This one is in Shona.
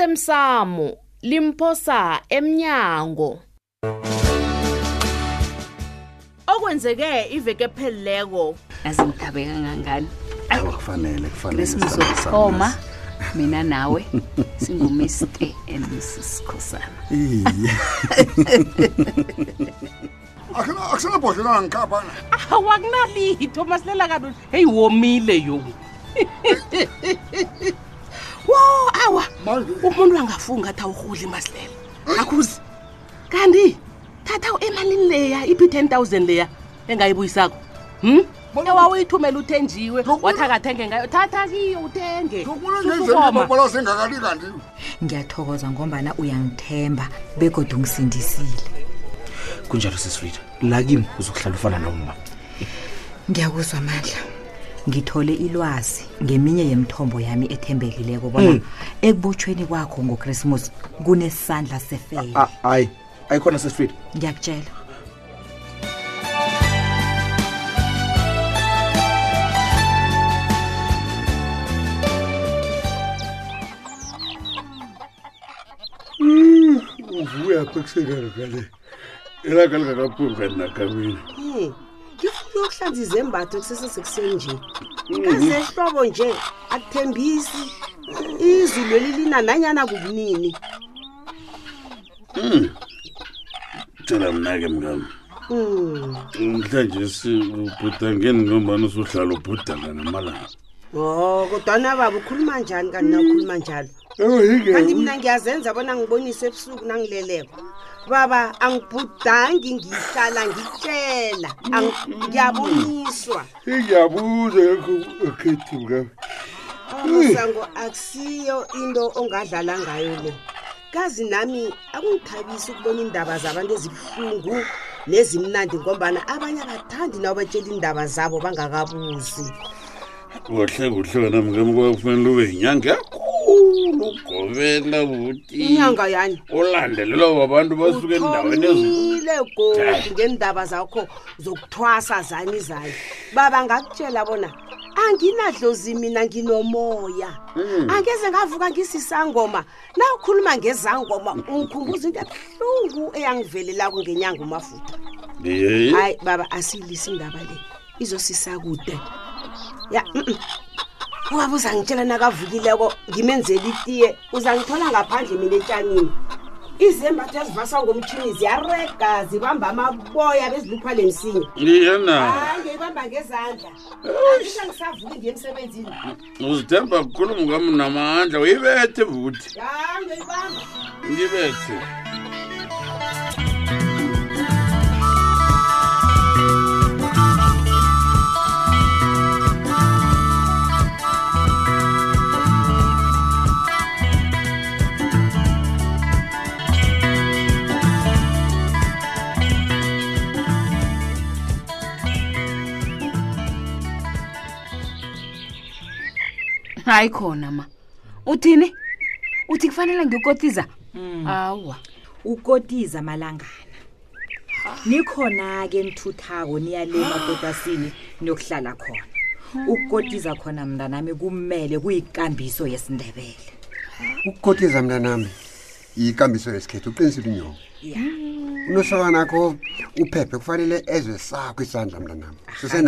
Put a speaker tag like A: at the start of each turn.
A: osemsamo limphosa emnyango okwenzeke iveke phelileko
B: yazi ngithabeka kangangani
C: awa kufanele kufanele
B: christmas
C: sithandwe sami
B: wokuthoma
C: lesi.
B: mina nawe singumr and mrs khosana
C: Iye.
D: Akhona akusana bodlela ngikhapha na.
E: awakunalitho masilela kalula heyi womile yo wo awa
D: Manje
E: umuntu angafunga athi awurhudli masilela akhuzi kanti thatha emalini leya iphi 10 000 leya engayibuyisakho hm
D: Bona-
E: ewawuyithumela uthenjiwe
D: Lokhu-
E: wathi akathenge ngayo thatha kiyo uthenge
D: ukubona
E: Susukoma.
D: ngezenibabala sengakali kanti.
F: ngiyathokoza ngombana uyangithemba begodwa ungisindisile
G: kunjalo sisifrida la kimi uzokuhlala ufana nomma
F: ngiyakuzwa amandla ngithole ilwazi ngeminye yemithombo yami ethembekileko bona
G: Hmm.
F: ekubotshweni kwakho ngokrismus kunesandla sefele
G: Ah, hayi ayikhona sisifrida
F: ngiyakutshela
C: uvuya kwekuseni kale elaka likakaphulu kanti nakamini
H: yokuhlanza izembatho kusesesekuseni nje
E: Mm-hmm.
H: kazehlobo nje akuthembisi izulu elilina nanyana kubunini
C: tshela mna-ke mngam
H: Mm.
C: mhlanje sibhudangeni ngombani usuhlala ubhudanga namalanga
H: o kodwana baba ukhuluma njani kanti nawukhuluma njalo kanti mina ngiyazenza bona ngiboniswe ebusuku nangileleko baba angibhudangi ngihlala ngitshela Angi- ngiyaboniswa
C: ingiyabuza yakho ekhethi mngam
H: amasango akusiyo into ongadlala ngayo le kazi nami akungithabisi ukubona iindaba zabantu ezibuhlungu nezimnandi ngombana abanye abathandi nabo batshela iindaba zabo bangakabuzi
C: kuhle kuhle wena mngam kwakufanele ube yinyanga yakhulu ugobela buti
H: inyanga yani
C: ulandelelwa babantu basuke endaweni ezi-
H: uthomile godu
C: Hayi.
H: ngeendaba zakho zokuthwasa zani zani baba ngakutshela bona anginadlozi mina nginomoya angeze ngavuka ngisisangoma nawukhuluma ngezangoma ungikhumbuza into ebuhlungu eyangivelelako ngenyanga umafutha
C: Ye.
H: hayi baba asiyilisi indaba le izosisakude ya mm-mm. ubaba uzangitshela nakavukileko ngimenzela itiye uzangithola ngaphandle mina etshanini izembatho ezivaswa ngomtshini ziyarega zibamba amaboya beziluphala emsinya
C: iyena
H: hayi ngiyibamba ngezandla angisha ngisavuki ngiye emsebenzini
C: uzithemba kukhulu mngam namandla uyibethe buti
H: ya ngiyibamba
C: ngibethe
B: hayi khona ma uthini uthi kufanele ngikotiza awa
F: ukotiza malangana nikhona-ke nithuthako niyale mapotasini niyokuhlala khona ukukotiza khona mntanami kumele kuyikambiso yesindebele
I: ukukotiza mntanami yikambiso yesikhethu uqinisile unyoko unosokana akho uphephe kufanele ezwe sakho isandla mntanami Sisena-